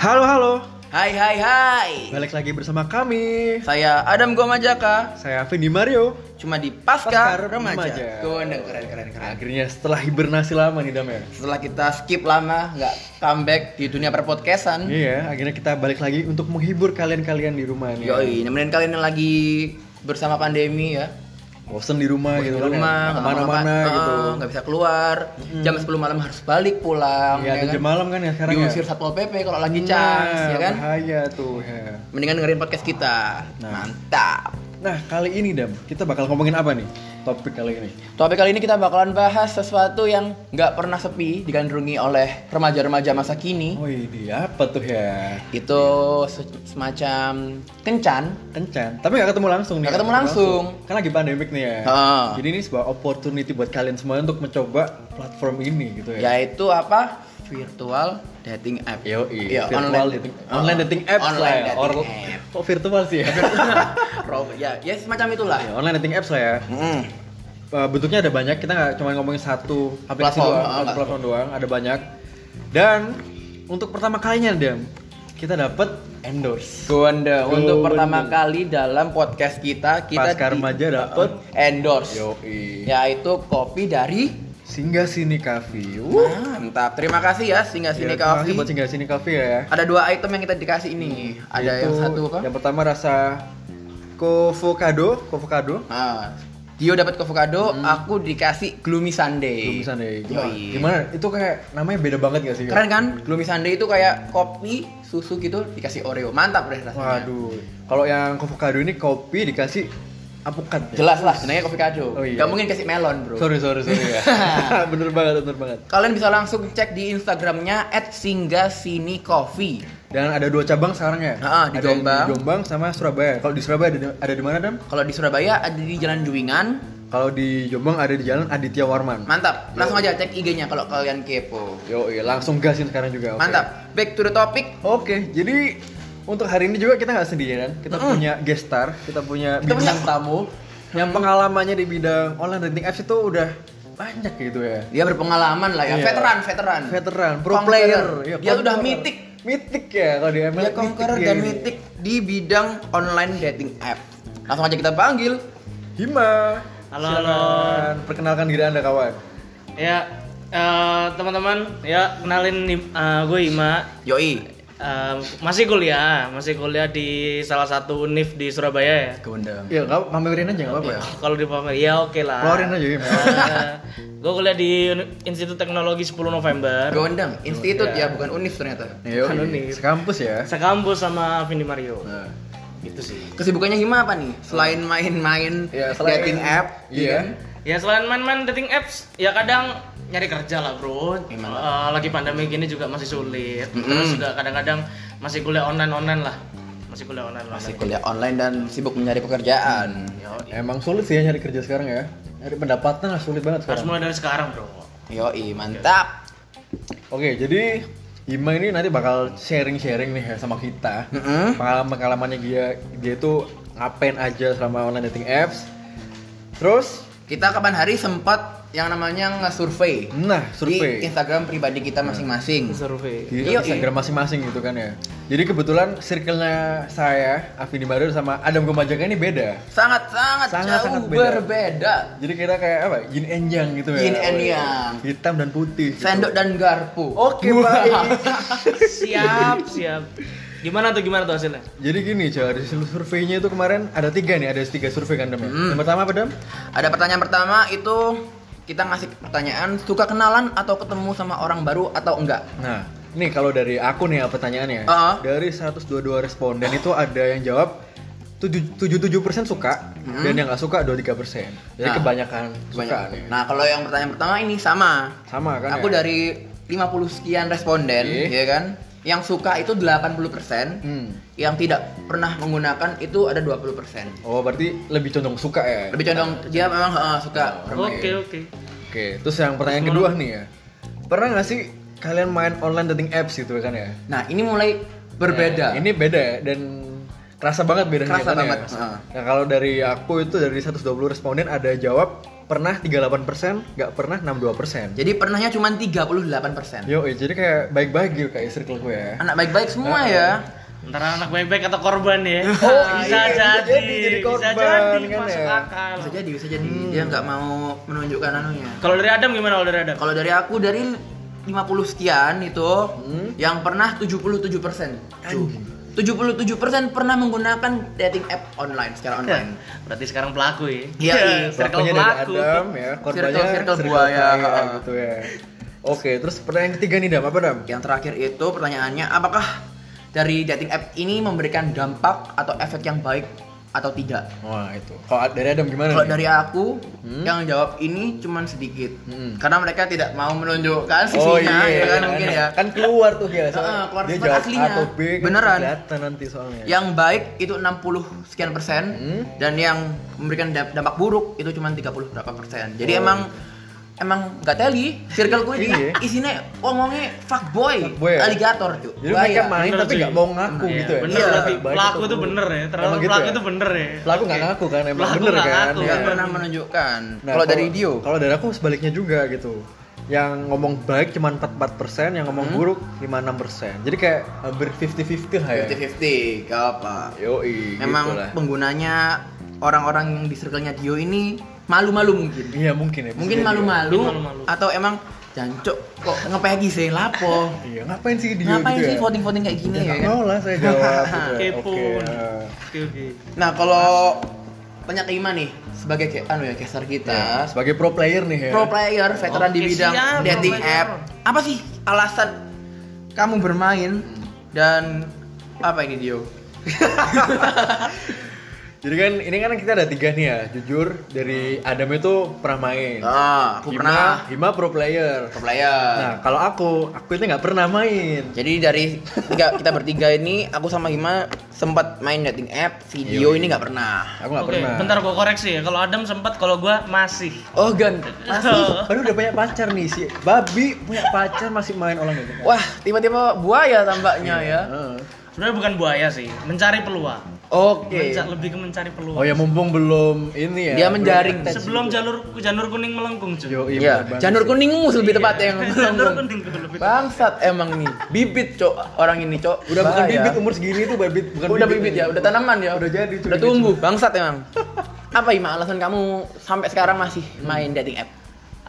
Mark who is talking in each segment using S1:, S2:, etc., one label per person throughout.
S1: Halo halo,
S2: Hai hai hai.
S1: balik lagi bersama kami.
S2: Saya Adam Gomajaka,
S1: Saya Vindi Mario.
S2: cuma di Pasca,
S1: Pasca
S2: Remaja.
S1: Remaja.
S2: Gondeng, keren keren keren.
S1: Akhirnya setelah hibernasi lama nih Dam ya.
S2: Setelah kita skip lama nggak comeback di dunia perpodcastan.
S1: Iya, akhirnya kita balik lagi untuk menghibur kalian-kalian di rumah nih.
S2: Yoi, nemenin kalian yang lagi bersama pandemi ya.
S1: Bosen di rumah
S2: Di
S1: gitu kan.
S2: rumah,
S1: mana
S2: nggak
S1: mana
S2: ngapa-ngapa,
S1: gitu.
S2: eh, nggak bisa keluar. Jam 10 malam harus balik pulang.
S1: Iya, ada jam malam kan ya sekarang
S2: Diusir
S1: ya.
S2: Satpol PP kalau lagi
S1: Nah,
S2: cas, ya kan?
S1: Bahaya tuh. ya.
S2: Mendingan dengerin podcast kita.
S1: Nah.
S2: Mantap.
S1: Nah, kali ini Dam, kita bakal ngomongin apa nih? Topik kali ini.
S2: Topik kali ini kita bakalan bahas sesuatu yang nggak pernah sepi digandrungi oleh remaja-remaja masa kini.
S1: Wih, di apa tuh ya?
S2: Itu se- semacam kencan.
S1: Kencan, tapi gak ketemu langsung nih.
S2: Nggak ketemu langsung.
S1: Kan lagi pandemik nih ya.
S2: Heeh.
S1: Jadi ini sebuah opportunity buat kalian semua untuk mencoba platform ini gitu ya.
S2: Yaitu apa? Virtual dating app.
S1: Yo,
S2: Iya,
S1: virtual
S2: online
S1: dating,
S2: Oh,
S1: online dating apps
S2: online
S1: lah ya.
S2: dating
S1: Or-
S2: app.
S1: Kok virtual sih ya?
S2: Rob- ya, ya semacam itulah.
S1: Ya, online dating apps lah ya.
S2: Mm.
S1: Eh, bentuknya ada banyak, kita nggak cuma ngomongin satu aplikasi
S2: Platform,
S1: doang,
S2: ah,
S1: satu
S2: nggak.
S1: platform doang, ada banyak. Dan untuk pertama kalinya, Dam, kita dapat endorse.
S2: Gonde, untuk
S1: Gonde.
S2: pertama kali dalam podcast kita kita
S1: Pasca
S2: di-
S1: remaja dapet
S2: endorse
S1: Yoi.
S2: Ya. yaitu kopi dari
S1: Singgah sini Kavi. Wuh.
S2: Mantap. Terima kasih ya Singa
S1: Ya,
S2: Sini
S1: terima kasih
S2: Coffee.
S1: buat singgah sini Kavi ya.
S2: Ada dua item yang kita dikasih ini. Ada yang
S1: Hmm, Yaitu
S2: satu apa?
S1: Yang pertama rasa Kovocado, Kovocado.
S2: Ah, Dio dapat avocado, aku dikasih gloomy sundae.
S1: Belum deh. Hmm. Gimana?
S2: Iya. Yoi.
S1: Gimana? Itu kayak namanya beda banget gak sih?
S2: Keren kan? Gloomy sundae itu kayak kopi, susu gitu dikasih Oreo. Mantap deh rasanya.
S1: Waduh. Kalau yang Kovocado ini kopi dikasih apukat. ya?
S2: Jelas lah, jenengnya kopi kado.
S1: Oh iya.
S2: Gak mungkin kasih melon, Bro.
S1: Sorry, sorry, sorry ya. bener banget, bener banget.
S2: Kalian bisa langsung cek di Instagramnya @singgasini_coffee.
S1: Dan ada dua cabang sekarang ya.
S2: Ah, di
S1: Ada yang
S2: Jombang.
S1: Di Jombang sama Surabaya. Kalau di Surabaya ada di, ada di mana, Dam?
S2: Kalau di Surabaya ada di Jalan Juwingan.
S1: Kalau di Jombang ada di Jalan Aditya Warman.
S2: Mantap. Langsung aja cek IG-nya kalau kalian kepo.
S1: Yo, langsung gasin sekarang juga. oke.
S2: Mantap. Back to the topic.
S1: Oke, jadi untuk hari ini juga kita nggak sendirian. Kita punya guest star, kita punya
S2: Kita punya
S1: bintang
S2: tamu.
S1: yang pengalamannya di bidang online dating apps itu udah banyak gitu ya.
S2: Dia berpengalaman lah
S1: Iya.
S2: ya, veteran, veteran.
S1: Veteran, pro player.
S2: Conqueror.
S1: ya,
S2: Dia tuh udah
S1: conqueror.
S2: mitik.
S1: Mitik ya kalau di ML.
S2: Dia conqueror
S1: dia
S2: dan
S1: ini.
S2: mitik di bidang online dating app. Langsung aja kita panggil.
S1: Hima.
S3: Halo,
S1: Silakan. Perkenalkan diri Anda kawan.
S3: Ya, eh, teman-teman, ya kenalin nim- eh, gue Ima.
S2: Yoi,
S3: Eh, masih kuliah, masih kuliah di salah satu univ di Surabaya ya.
S2: Gondang.
S1: Ya, kamu pamerin aja nggak
S2: Iya.
S1: apa-apa ya.
S3: Kalau di pamer, ya oke lah.
S1: Keluarin aja Hima.
S3: Eh, gue kuliah di Uni- Institut Teknologi 10 November.
S2: Gondang, institut
S1: Iya.
S2: ya, bukan univ ternyata.
S1: Ayo,
S3: Kan unik.
S1: sekampus ya.
S3: Sekampus sama Vindi Mario.
S2: Iya.
S1: Nah.
S3: Gitu sih.
S2: Kesibukannya Hima apa nih? Selain main-main
S1: Ya, selain-
S2: dating app, kan?
S1: Iya.
S3: Ya selain main-main dating apps, ya kadang nyari kerja lah bro.
S2: Memang.
S3: Eh, lagi pandemi gini juga masih sulit.
S2: Mm-mm.
S3: Terus juga kadang-kadang masih kuliah online-online lah. Masih kuliah online.
S2: masih kuliah online dan sibuk mencari pekerjaan.
S1: Emang sulit sih ya nyari kerja sekarang ya. Nyari pendapatan lah sulit banget
S3: Harus
S1: sekarang.
S3: mulai dari sekarang bro.
S2: Yoi, mantap.
S1: Oke, jadi Hima ini nanti bakal sharing-sharing nih ya sama kita.
S2: Mm-mm.
S1: Pengalaman-pengalamannya dia dia itu ngapain aja selama online dating apps. Terus,
S2: Kita kapan hari sempat yang namanya nge-survey
S1: nah
S2: di
S1: survei
S2: Instagram pribadi kita masing-masing.
S3: Survei.
S1: di
S2: Iya,
S1: Instagram masing-masing gitu kan ya. Jadi kebetulan circle-nya saya, Afini Baru sama Adam Gomajaka ini beda.
S2: sangat-sangat
S1: Sangat-sangat
S2: jauh
S1: beda.
S2: berbeda.
S1: Jadi kita kayak apa? Yin and yang gitu ya.
S2: Yin and yang.
S1: Hitam dan putih. gitu.
S2: Sendok dan garpu.
S1: Oke, baik.
S3: siap siap gimana tuh gimana tuh hasilnya
S1: Jadi gini, Cak, dari hasil surveinya itu kemarin ada tiga nih, ada tiga survei kan, Dam. ya?
S2: Hmm.
S1: Yang pertama apa, Dam?
S2: Ada pertanyaan pertama itu kita ngasih pertanyaan suka kenalan atau ketemu sama orang baru atau enggak?
S1: Nah, ini kalau dari aku nih ya pertanyaannya.
S2: Ah.
S1: Dari 122 responden itu ada yang jawab tujuh- 77% suka dan yang nggak suka 23%. Jadi
S2: Hmm. Nah.
S1: kebanyakan suka
S2: Banyak.
S1: nih.
S2: Nah, kalau yang pertanyaan pertama ini sama.
S1: Sama kan
S2: Aku
S1: ya?
S2: dari 50 sekian responden,
S1: Oke.
S2: ya kan? Yang suka itu 80%,
S1: Hmm.
S2: yang tidak pernah menggunakan itu ada 20%.
S1: Oh, berarti lebih condong suka ya.
S2: Lebih condong dia memang eh, suka
S3: oke
S2: permain.
S3: oke
S1: Oke, terus yang pertanyaan
S3: Terus
S1: kedua nih ya. Pernah nggak sih kalian main online dating apps gitu kan ya?
S2: Nah, ini mulai
S1: Ya,
S2: berbeda.
S1: ini beda ya, dan kerasa banget bedanya. kan
S2: Kerasa
S1: ya?
S2: banget, uh. heeh.
S1: Nah, kalau dari aku itu dari 120 responden ada jawab pernah 38%, nggak pernah 62%.
S2: Jadi pernahnya cuma 38%.
S1: Yo, eh, jadi kayak baik-baik gitu kayak circle gue ya.
S2: Anak baik-baik semua ya.
S3: Antara anak baik-baik atau korban ya.
S1: Oh, iya,
S3: bisa
S1: bisa
S3: jadi,
S1: jadi, jadi korban,
S3: bisa jadi
S1: kan
S3: masuk
S1: ya?
S3: akal.
S2: Bisa jadi, bisa jadi dia nggak mau menunjukkan anunya.
S3: Kalau dari Adam gimana kalau dari Adam?
S2: Kalau dari aku dari 50 sekian itu
S1: Hmm.
S2: yang pernah 77 persen. 77 persen pernah menggunakan dating app online secara
S3: Ya,
S2: online.
S3: Berarti sekarang pelaku ya.
S2: Iya, iya.
S3: circle
S1: Pelakunya dari
S3: pelaku. Iya,
S1: Adam ya, korbannya
S2: Circle- circle buaya.
S1: saya gitu ya. Oke, terus pertanyaan ketiga nih Dam, apa Dam?
S2: Yang terakhir itu pertanyaannya apakah dari dating app ini memberikan dampak atau efek yang baik atau tidak?
S1: Wah, itu. Kalau dari Adam gimana?
S2: Kalau
S1: nih?
S2: dari aku
S1: Hmm.
S2: yang jawab ini cuman sedikit
S1: Hmm.
S2: karena mereka tidak mau menunjukkan sisinya
S1: Oh iya,
S2: ya kan mungkin ya.
S1: Kan keluar tuh ya. soalnya
S2: Heeh, keluar
S1: dia
S2: sifat
S1: jawab
S2: aslinya.
S1: A atau B kan
S2: Beneran. Ya.
S1: kelihatan nanti soalnya.
S2: Yang baik itu 60 sekian persen
S1: Hmm.
S2: dan yang memberikan da- dampak buruk itu cuman 30 berapa persen. Jadi
S1: Oh.
S2: emang emang gak teli circle gue ini
S1: Iya.
S2: isinya ngomongnya fuckboy,
S1: Fuckboy ya?
S2: aligator tuh.
S1: Jadi mereka
S2: Bahaya.
S1: main
S3: Bener
S1: tapi
S3: sih.
S1: nggak mau ngaku
S3: Iya,
S1: gitu ya.
S3: Bener
S2: Iya.
S3: berarti
S1: Baik
S3: pelaku
S1: atau
S3: itu
S1: buruk.
S3: bener ya. Terlalu
S1: Emang gitu
S3: pelaku
S1: ya?
S3: itu bener ya.
S1: Pelaku nggak
S3: Oke.
S1: ngaku kan, emang
S3: Pelaku
S1: bener
S3: nggak
S1: kan,
S3: ngaku,
S1: ya.
S2: Gak
S1: Iya.
S2: pernah menunjukkan.
S1: Nah,
S2: kalau dari Dio,
S1: Kalau dari aku sebaliknya juga gitu. Yang ngomong baik cuma 44%, yang
S2: Hmm.
S1: ngomong buruk 56%. Jadi kayak hampir 50-50 lah ya.
S2: 50-50, gak apa.
S1: Yoi,
S2: Memang
S1: gitu lah.
S2: penggunanya orang-orang yang di circle-nya Dio ini malu-malu mungkin.
S1: Iya mungkin ya. bisa
S2: Mungkin
S1: jadi.
S2: malu-malu
S3: Mungkin malu-malu.
S2: atau emang jancok kok ngepegi sih lapo.
S1: Iya, ngapain sih dia
S2: Ngapain
S1: gitu
S2: sih
S1: ya?
S2: voting-voting kayak gini
S1: Ya,
S2: ya?
S1: nggak mau lah saya jawab gitu ya.
S3: Kepo.
S1: Oke. ya.
S3: Oke oke.
S2: Nah, kalau tanya ke Ima nih sebagai kayak anu ya caster kita,
S1: Sebagai pro player nih ya.
S2: pro player veteran di
S3: Oke,
S2: bidang
S3: siap,
S2: dating
S3: pro player.
S2: app. Apa sih alasan kamu bermain dan apa ini Dio?
S1: Jadi kan ini kan kita ada tiga nih ya, jujur dari Adam itu pernah main.
S2: Ah, aku
S1: Hima,
S2: pernah Iya.
S1: Hima pro player.
S2: pro player.
S1: Nah, kalau aku, aku itu nggak pernah main.
S2: Jadi dari tiga, kita bertiga ini aku sama Hima sempat main dating app, video ini nggak pernah.
S1: Aku nggak
S3: Oke,
S1: pernah.
S3: bentar gua koreksi ya. Kalau Adam sempat, kalau gua masih. Eh,
S2: Oh, gan. Masih.
S1: Baru udah punya pacar nih si Babi punya pacar masih main orang gitu kan.
S2: Wah, tiba-tiba buaya tambaknya ya.
S1: Heeh.
S3: Sebenarnya bukan buaya sih, mencari peluang.
S2: Oke.
S3: Menca- lebih ke mencari peluang.
S1: Oh ya mumpung belum ini ya.
S2: Dia
S1: belum-
S2: menjaring tadi.
S3: Sebelum jalur janur kuning melengkung, cuy.
S1: Yoi, bener
S2: Iya,
S1: banget
S2: janur
S1: sih.
S2: kuningmu lebih tepat yang
S3: janur kuning itu lebih.
S2: Bangsat emang nih, bibit cok orang ini cok.
S1: Udah bukan
S2: Bahaya.
S1: bibit umur segini tuh bibit bukan
S2: udah bibit ya, udah tanaman ya,
S1: Udah jadi, cuy.
S2: Udah tumbuh, bangsat emang. Apa Ima alasan kamu sampai sekarang masih main dating app?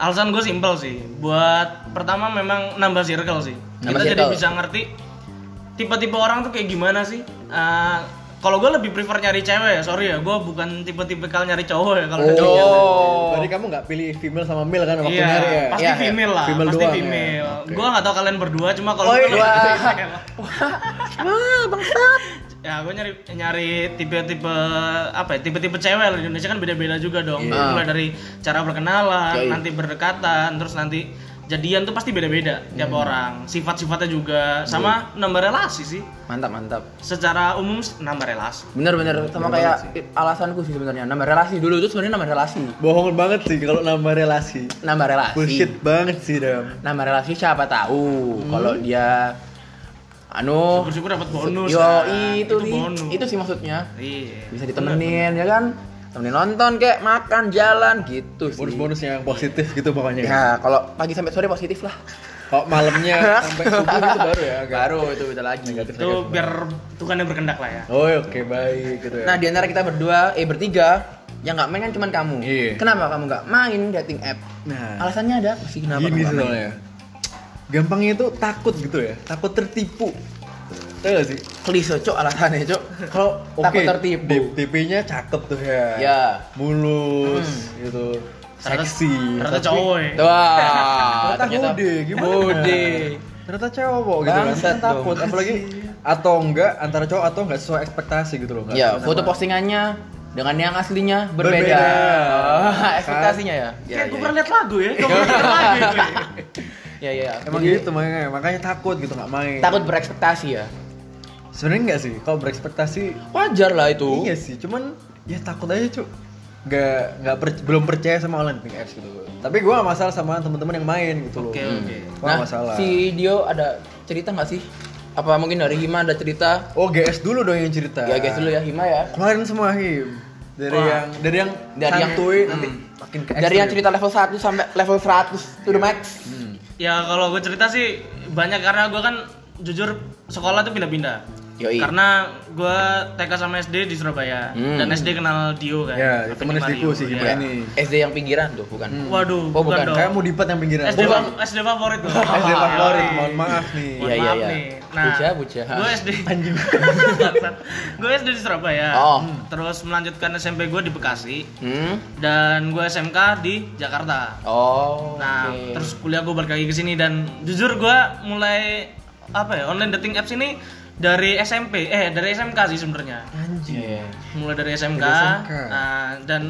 S3: Alasan gue simpel sih. Buat pertama memang nambah circle sih.
S2: Nambah
S3: Kita jadi
S2: circle.
S3: bisa ngerti tipe-tipe orang tuh kayak gimana sih. Eh, kalau gue lebih prefer nyari cewek ya, sorry ya, gue bukan tipe-tipe kal nyari cowok ya kalau dari-
S2: Oh.
S1: Berarti kamu nggak pilih female sama male kan waktu
S3: Iya,
S1: nyari ya.
S3: pasti
S2: Iya, iya.
S3: female lah,
S1: Female
S3: pasti
S1: doang ya.
S3: female.
S1: Oke.
S3: Gue nggak tahu kalian berdua, cuma kalau
S2: Oh,
S3: gue
S2: iya.
S3: lebih female.
S2: Wah, Ah, bangsat.
S3: ya gue nyari nyari tipe-tipe apa ya tipe-tipe cewek lah di Indonesia kan beda-beda juga dong
S2: Iya.
S3: mulai dari cara berkenalan
S2: Yoi.
S3: nanti berdekatan terus nanti jadian tuh pasti beda-beda tiap
S2: Hmm.
S3: orang sifat-sifatnya juga sama nambah relasi sih
S2: Mantap, mantap.
S3: secara umum s- nambah relasi
S2: Bener-bener sama kayak alasanku sih sebenarnya. Nambah relasi dulu itu sebenarnya nambah relasi.
S1: Bohong banget sih kalau nambah relasi.
S2: Nambah relasi.
S1: Bullshit banget sih Dam.
S2: Nambah relasi siapa tahu kalau dia anu
S3: syukur-syukur dapat bonus
S2: Yo,
S3: nah.
S2: itu, nih.
S3: bonus
S2: Itu sih maksudnya.
S3: iya
S2: Bisa ditemenin ya kan? Temenin nonton kayak makan jalan gitu sih.
S1: Bonus-bonus yang positif gitu pokoknya.
S2: Ya, kalau pagi sampai sore positif lah.
S1: Kok malamnya sampai subuh itu baru ya agak
S2: Baru itu beda lagi.
S1: negatif.
S3: itu biar Tuhan yang berkendak lah ya
S1: Oh, oke baik gitu ya.
S2: Nah, di antara kita berdua, eh bertiga, yang nggak main kan cuman kamu.
S1: Iya.
S2: Kenapa kamu nggak main dating app?
S1: Nah,
S2: Alasannya ada apa sih kenapa?
S1: gini
S2: kamu nggak
S1: sih
S2: main?
S1: soalnya. Gampangnya itu takut gitu ya, takut tertipu. Tahu gak sih?
S2: Klise, Cok, alasannya, Cok.
S1: Kalau
S2: Takut
S1: oke,
S2: tertipu.
S1: D- DP-nya cakep tuh ya.
S2: Ya. Hmm.
S1: Mulus gitu.
S3: Ternyata-
S1: Seksi.
S3: ternyata
S1: tapi-
S3: cowok ya.
S2: Wah,
S1: Ternyata hoodie, gimana?
S2: Bude.
S1: Ternyata cowok gitu kan.
S2: Bangsat
S1: Ternyata takut
S2: dong.
S1: apalagi atau enggak antara cowok atau enggak sesuai ekspektasi gitu loh. nggak
S2: Ya,
S1: sesuai
S2: foto
S1: sama-
S2: postingannya dengan yang aslinya berbeda.
S1: Berbeda.
S2: Oh,
S1: Kan? Iya,
S2: ekspektasinya ya. Ya,
S3: kayak
S2: ya,
S3: gue pernah lihat lagu ya gue pernah lihat lagu ya gue.
S2: ya. ya, ya.
S1: Emang
S2: Jadi,
S1: gitu makanya, makanya takut gitu nggak main.
S2: Takut berekspektasi ya.
S1: Sebenarnya enggak sih, kalau berekspektasi
S2: Wajar lah itu.
S1: Iya sih, cuman ya takut aja cuk. Nggak nggak per- belum percaya sama online dating apps gitu. Tapi gua gak masalah sama teman-teman yang main gitu loh.
S3: oke oke
S1: Gua
S2: Nah,
S1: nggak masalah.
S2: si Dio ada cerita nggak sih? Apa mungkin dari Hima ada cerita? Iya,
S1: Oh, GS dulu dong yang cerita.
S2: Ya guys dulu ya Hima ya.
S1: Kemarin semua Him. dari
S3: Wah.
S1: yang dari yang
S2: Dari yang-
S1: santuy nanti
S2: hmm.
S1: makin ke ya.
S2: Dari yang
S1: ekstrim.
S2: cerita level 1 sampai level 100 to the max.
S1: Hmm.
S3: Ya kalau gue cerita sih banyak karena gue kan jujur sekolah tuh pindah-pindah.
S2: Yoi.
S3: Karena gue TK sama SD di Surabaya
S2: iya. Hmm.
S3: dan SD kenal Dio kan.
S1: Ya,
S3: Tapi
S1: temen
S3: di
S1: SD ku
S3: Mario,
S1: sih
S3: ya.
S1: gimana nih?
S2: Iya. SD yang pinggiran tuh,
S1: Hmm.
S2: bukan.
S3: Waduh,
S2: Oh, bukan. Eh,
S3: dong.
S1: Kayak mau dipet yang pinggiran.
S3: SD,
S1: Bukan.
S3: fa- SD favorit tuh.
S1: SD favorit, mohon maaf nih.
S3: Mohon
S2: Iya, iya,
S3: maaf
S2: iya.
S3: nih. Nah,
S2: Buja, buja.
S3: Gue SD
S1: Anjing.
S3: gue SD di Surabaya.
S2: Oh.
S3: Hmm. Terus melanjutkan SMP gue di Bekasi
S2: Hmm.
S3: dan gue SMK di Jakarta.
S2: Oh.
S3: Nah,
S2: oke.
S3: terus kuliah gue balik lagi ke sini dan jujur gue mulai apa ya online dating apps ini dari SMP eh dari SMK sih sebenarnya
S1: Anjing.
S2: Iya.
S3: mulai dari SMK,
S1: Dari SMK.
S3: Nah, dan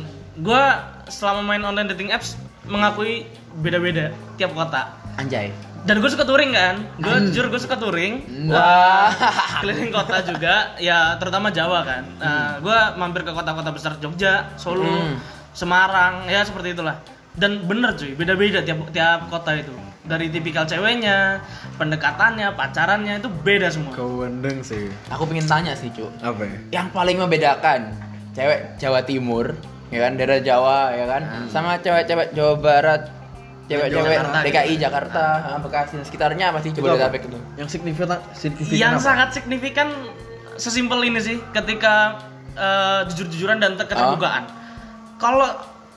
S3: gue selama main online dating apps mengakui beda-beda tiap kota
S2: Anjay.
S3: dan gue suka touring kan gue jujur gue suka touring
S2: Wah.
S3: keliling kota juga ya terutama Jawa kan nah, gue mampir ke kota-kota besar Jogja Solo
S2: Hmm.
S3: Semarang ya seperti itulah dan bener cuy beda-beda tiap tiap kota itu dari tipikal ceweknya pendekatannya pacarannya itu beda semua
S1: Kau wendeng sih.
S2: Aku pengen tanya sih, Cuk.
S1: Apa ya?
S2: Yang paling membedakan cewek Jawa Timur, ya kan, daerah Jawa, ya kan, sama cewek-cewek Jawa Barat, cewek-cewek
S3: Jakarta,
S2: DKI Jakarta, ah, Bekasi dan sekitarnya apa sih coba
S1: apa?
S2: itu.
S1: Yang signifikan signifikan
S3: yang
S1: apa?
S3: sangat signifikan sesimpel ini sih ketika eh, jujur-jujuran dan te- keterbukaan kalau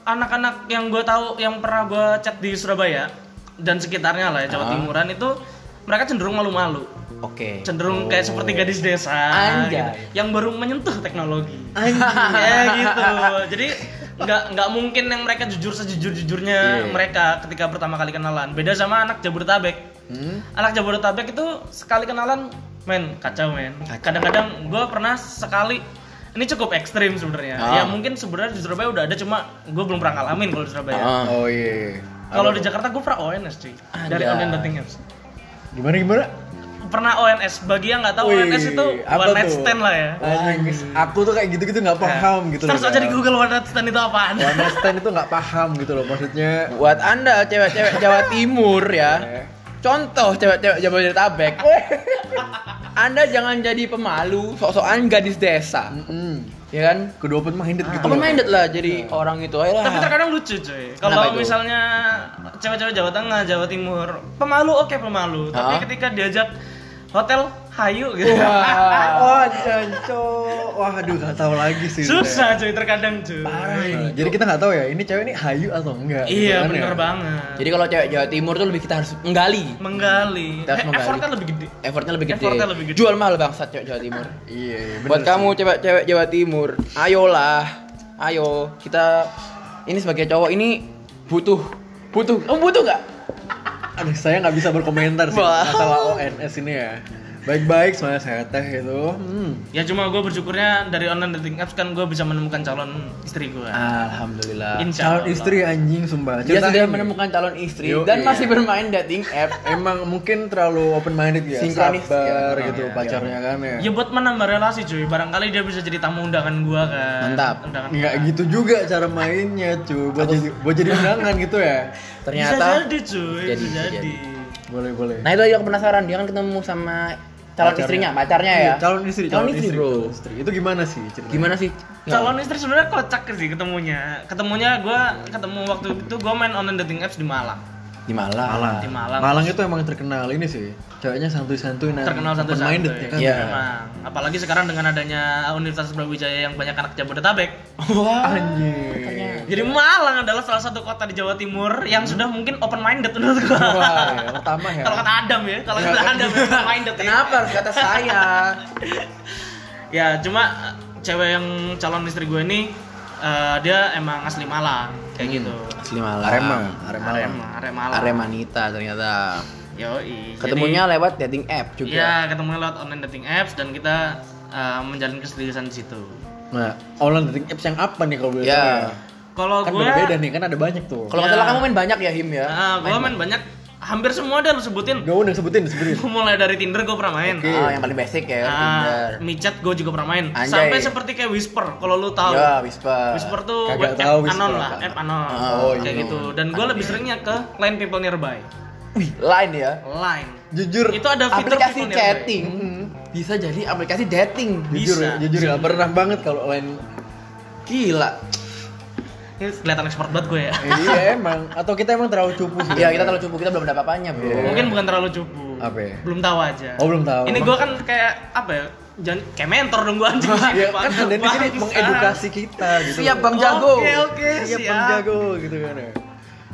S3: anak-anak yang gue tahu yang pernah gue chat di Surabaya dan sekitarnya lah ya Jawa
S2: Ah.
S3: Timuran itu mereka cenderung malu-malu
S2: Oke.
S3: cenderung kayak seperti gadis desa
S2: Anjay.
S3: gitu, yang baru menyentuh teknologi ya gitu jadi nggak nggak mungkin yang mereka jujur sejujur jujurnya
S1: Iya.
S3: mereka ketika pertama kali kenalan beda sama anak Jabodetabek
S1: Hmm?
S3: anak Jabodetabek itu sekali kenalan men kacau men kadang-kadang gue pernah sekali ini cukup ekstrim sebenarnya
S2: Ah.
S3: ya mungkin sebenarnya di Surabaya udah ada cuma gue belum pernah ngalamin kalau di Surabaya
S2: Ah.
S1: Oh iya.
S3: kalau di Jakarta gue pernah ONS cuy
S2: Anjay.
S3: dari online dating apps
S1: Gimana gimana?
S3: pernah ONS bagi yang nggak tahu
S1: Wih,
S3: ONS itu
S1: apa
S3: one night
S1: tuh?
S3: stand lah ya Iya.
S1: Anjing. Aku tuh kayak gitu-gitu nggak paham gitu
S3: terus
S1: loh,
S3: aja
S1: Kak.
S3: di Google one night stand itu apaan
S1: One night stand itu nggak paham gitu loh maksudnya. Eh.
S2: Buat Anda cewek-cewek Jawa Timur ya. Contoh cewek-cewek Jabodetabek. Anda jangan jadi pemalu, sok-sokan gadis desa.
S1: Mm-mm.
S2: Ya kan?
S1: Kedua open minded gitu.
S2: Open
S1: loh.
S2: minded lah jadi orang itu ayolah.
S3: tapi terkadang lucu cuy
S2: Kenapa
S3: kalau
S2: itu?
S3: misalnya cewek-cewek Jawa Tengah Jawa Timur pemalu oke pemalu tapi
S2: Ah.
S3: ketika diajak hotel hayu gitu
S1: Wah, canco. Wah, aduh nggak tahu lagi sih.
S3: susah cuy terkadang cuy
S1: Parah ini. Jadi kita nggak tahu ya, ini cewek ini hayu atau enggak. gitu
S3: iya
S1: kan
S3: bener
S1: ya.
S3: banget
S2: Jadi kalau cewek Jawa Timur tuh lebih kita harus menggali.
S3: menggali
S2: Kita harus
S3: Eh,
S2: menggali.
S3: effortnya lebih gede
S2: Effortnya lebih gede.
S3: Effortnya lebih gede.
S2: Jual mahal bangsat cewek Jawa Timur.
S1: Iya, iya, bener
S2: Buat
S1: sih.
S2: kamu cewek-cewek Jawa Timur, ayolah. Ayo kita ini sebagai cowok ini butuh butuh. Oh, butuh nggak?
S1: Aduh, saya nggak bisa berkomentar sih
S2: Wah.
S1: masalah ONS ini ya. Baik-baik soalnya saya teh itu. Hmm.
S3: ya cuma gue bersyukurnya dari online dating apps kan gue bisa menemukan calon istri gue
S1: Ah.
S2: Alhamdulillah.
S3: Insya
S1: Calon
S3: Allah.
S1: istri anjing sumpah.
S2: Dia
S1: Ceritain.
S2: Iya, sudah menemukan calon istri
S1: Yo,
S2: dan
S1: iya.
S2: masih bermain dating app.
S1: Emang mungkin terlalu open minded ya,
S2: Sinkronis,
S1: sabar
S2: ya.
S1: gitu
S2: Iya,
S1: pacarnya kan ya.
S3: Ya buat menambah relasi cuy, barangkali dia bisa jadi tamu undangan gua kan.
S2: Mantap.
S3: Undangan.
S1: Nggak gitu juga cara mainnya cuy, buat jadi buat jadi undangan gitu ya.
S2: Ternyata
S3: bisa jadi cuy,
S2: Jadi,
S3: bisa
S2: bisa
S3: jadi.
S2: jadi.
S1: Boleh boleh.
S2: Nah itu aja aku penasaran dia kan ketemu sama calon
S1: Pacarnya.
S2: istrinya, pacarnya
S1: Iya,
S2: ya.
S1: Calon istri,
S2: Calon istri, bro.
S1: calon istri. Itu gimana sih ceritanya?
S2: Gimana sih?
S3: Calon istri sebenarnya kocak sih ketemunya. Ketemunya gua ketemu waktu itu gua main online dating apps di Malang.
S2: di Malang.
S1: Malang.
S3: Di Malang.
S1: itu emang terkenal ini sih. Ceweknya santuy-santuy nah.
S3: Terkenal satu satu.
S1: minded ya kan.
S2: Iya.
S3: Memang. Apalagi sekarang dengan adanya Universitas Brawijaya yang banyak anak Jabodetabek.
S2: Wah.
S1: Anjing.
S3: Jadi Malang adalah salah satu kota di Jawa Timur yang sudah mungkin open minded menurut gua.
S1: Wah, yang pertama ya.
S3: Kalau kata Adam ya, kalau kata Adam ya, open minded. ya.
S2: Kenapa harus kata saya?
S3: ya cuma eh, cewek yang calon istri gue ini eh, dia emang asli Malang kayak gitu
S2: Asli Malang.
S1: Arema, Arema.
S3: Arema Arema Malang
S2: Aremanita ternyata.
S3: Yoi.
S2: Ketemunya lewat dating app
S3: Jadi,
S2: juga.
S3: iya ketemunya lewat online dating apps dan kita eh, menjalin keseriusan di situ
S1: Nah, online dating apps yang apa nih kalau boleh
S2: Ya.
S1: tahu
S3: kalau
S1: Kan
S3: gue
S1: beda-beda nih, kan ada banyak tuh.
S2: Kalau nggak
S3: Iya.
S2: salah kamu main banyak ya Him ya.
S3: Ah, gue main banyak hampir semua dah lu sebutin
S1: Gak udah sebutin, sebutin.
S3: mulai dari Tinder gue pernah main
S1: Oke.
S2: Ah, yang paling basic ya Tinder.
S3: Ah, micet gue juga pernah main
S2: Anjay.
S3: sampai seperti kayak whisper kalau lu tahu
S2: Ya, Whisper.
S3: Oh. Whisper tuh
S1: Kagak
S3: web
S1: tahu
S3: app
S1: Whisper
S3: anon lah,
S1: apa.
S3: app anon
S2: Oh,
S3: kayak
S2: iya.
S3: gitu. Dan gue lebih seringnya ke Line People Nearby,
S2: Wih, Line ya.
S3: Line.
S1: Jujur,
S3: Itu ada fitur ya?
S2: Aplikasi
S3: People Nearby.
S2: chatting bisa jadi aplikasi dating.
S1: jujur ya,
S3: bisa.
S1: jujur ya. Pernah banget kalau lain
S2: Gila.
S3: Ini kelihatan expert banget gue ya.
S1: iya emang atau kita emang terlalu cupu sih
S2: Iya, kita terlalu cupu, kita belum ada apa-apanya, Bro.
S1: Iya.
S3: Mungkin bukan terlalu cupu.
S1: Apa ya?
S3: Belum tahu aja.
S1: Oh, belum tahu.
S3: Ini gue kan kayak apa ya? Jangan kayak mentor dong gue anjing.
S1: Iya, kan konten di sini
S3: Bangsat.
S1: mengedukasi kita gitu.
S2: Siap, Bang Jago.
S3: Oke, oke,
S2: Iya,
S1: Siap,
S3: siap.
S1: Bang Jago Iya, gitu kan. ya.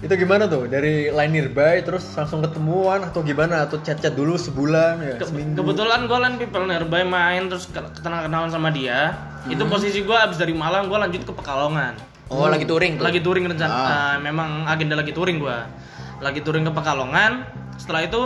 S1: Itu gimana tuh? Dari line nearby terus langsung ketemuan atau gimana atau chat-chat dulu sebulan ya,
S2: Iya.
S3: Ke-
S1: seminggu.
S3: kebetulan gue lan people nearby main terus ketenalan kenalan sama dia. Itu
S1: Hmm.
S3: posisi gue abis dari Malang gue lanjut ke Pekalongan.
S2: Oh, lagi touring tuh.
S3: Lagi touring rencana,
S2: Ah.
S3: eh, memang agenda lagi touring gue. Lagi touring ke Pekalongan. Setelah itu